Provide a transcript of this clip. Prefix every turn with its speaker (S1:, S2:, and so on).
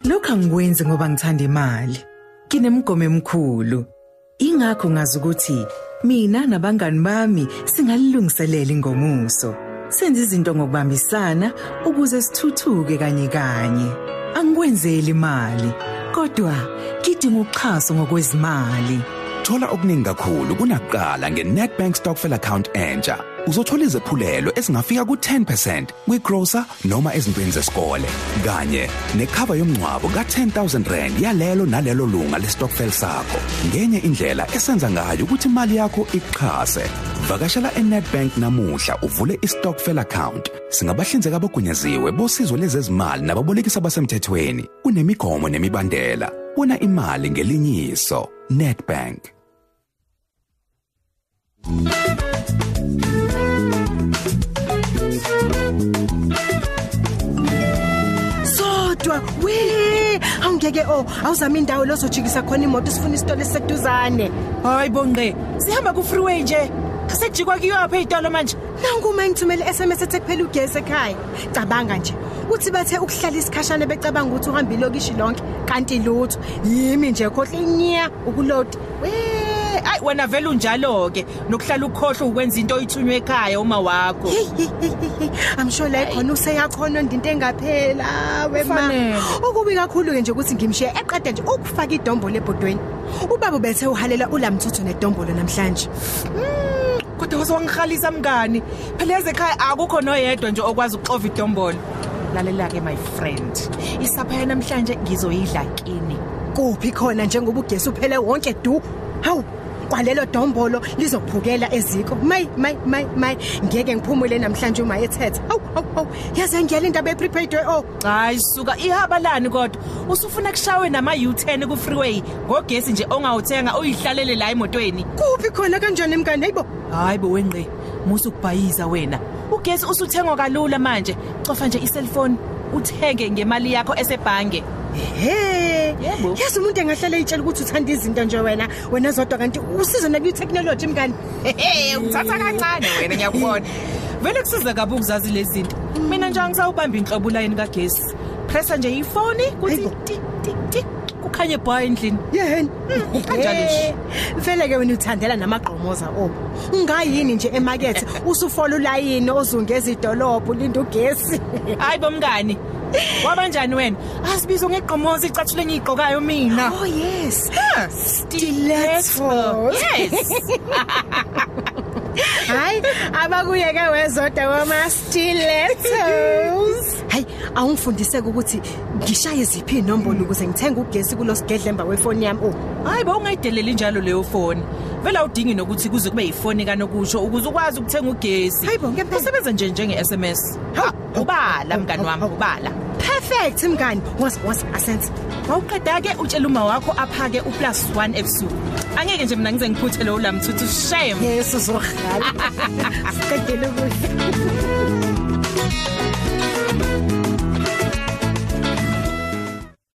S1: Lokho angikwenzi ngoba ngithanda imali. Kinemgomo emkhulu. Ingakho ngazi ukuthi mina nabangani bami singalilungiselela ingomuso. Senze izinto ngokubambisana ukuze sithuthuke kanye kanye. Angikwenzeli imali, kodwa kidinga uxhaso ngokwezimali.
S2: Thola okuningi kakhulu kunakuqala ngeNetbank Stockfell account entsha. Uzothola izephulelo ezingafika ku10% kwigrocer noma ezintweni zesikole kanye nekhava yomngcwabo ka10000 rand yalelo nalelo lunga lestockfell sakho. Ngenye indlela esenza ngayo ukuthi imali yakho iqhase. Vakashela eNetbank namuhla uvule istockfell account. Singabahlinzeka abagunyaziwe bosizo lezezimali nababolekisi abasemthethweni. Kunemigomo nemibandela. Bona imali ngelinyiso. Netbank
S3: sodwa we awungeke o awuzama indawo lozojikisa khona imoto sifuna isitolo esiseduzane
S4: Hayi bonqe, sihamba ku freeway nje. Asejikwa kuyaphi ezitolo manje?
S3: nanguma ngithumele i-sms ethe kuphela ugesi ekhaya cabanga nje uthi bathe ukuhlala isikhashana becabanga ukuthi uhambe ilokishi lonke kanti lutho yimi nje khohle inya ukulodi we
S4: Hayi wena vele unjalo ke, nokuhlala ukhohle ukwenza into oyithunywe ekhaya uma wakho.
S3: Hey, hey, hey, hey, hey. I'm sure la ikhona useyakhona ndinto engaphela wema.
S4: Kufanele.
S3: Okubi kakhulu ke nje ukuthi ngimshiye eqeda nje ukufaka idombolo ebhodweni. Ubaba bethe uhalela ulamthuthu nedombolo namhlanje.
S4: Kodwa wazongihalisa mngani. Phela eze ekhaya akukho noyedwa nje okwazi ukuxova idombolo. Lalela ke my friend. Isapha yena namhlanje ngizoyidla kini.
S3: Kuphi khona njengoba ugesi uphele wonke du. Hawu. Kwalelo dombolo lizophukela eziko. May may may may ngeke ngiphumule namhlanje uma ethethe. Hawu hawu hawu. Yaze ngiyale indaba eprepaid oh.
S4: Hayi suka ihaba lani kodwa. Usufuna kushawe nama U10 ku freeway ngogesi nje ongawuthenga uyihlalele la emotweni.
S3: Kuphi khona kanjani mngani? Hayibo.
S4: Hayi bo wenqe, musu kubhayiza wena. Ugesi usuthengwa kalula manje. Cofa nje iselfone uthenge ngemali yakho esebhange.
S3: Hey,
S4: Yebo.
S3: yazi umuntu engahlala etshela ukuthi uthanda izinto nje wena, wena zodwa kanti usizo nakwi technology mngani.
S4: Hey, uthatha kancane wena ngiyakubona. Vele kusiza kabi ukuzazi lezi zinto. Mina nje angisawubamba inhlobo line kagesi. Pressa nje ifoni kuthi
S3: Hayibo.
S4: tik tik tik kukhanye bhayi endlini.
S3: Yehena.
S4: kanjalo nje.
S3: Vele ke wena uthandela namagqomoza obo. Ungayini nje emarket usufola ulayini ozungeza idolophu linda ugesi.
S4: Hayi bomngani. Wabanjani wena? Ah, Asibizo ngeqhomoza icathule ngiyigqokayo mina.
S3: Oh yes.
S4: Stiletto.
S3: Stiletto.
S4: Yes.
S3: Hayi, abakuye ke wezoda wama stilettos. Hayi, awungifundiseke ukuthi ngishaye ziphi inombolo ukuze ngithenge ugesi kulosgedlemba wefoni yami. Oh.
S4: Hayi bo ungayideleli njalo leyo foni. Vela awudingi nokuthi kuze kube yifoni kanokusho ukuze ukwazi ukuthenga ugesi.
S3: Hayi bo, ngempela.
S4: Usebenza nje njenge SMS.
S3: Hawu.
S4: ubala mngani wami ubala.
S3: Perfect mngani. Was was asense.
S4: Wawuqeda ke utshela uma wakho aphake uplus 1 ebusuku. Angeke nje mina ngize ngiphuthe lo lamthuthu shame.
S3: Yesu zoghala. Sikadele ukuthi.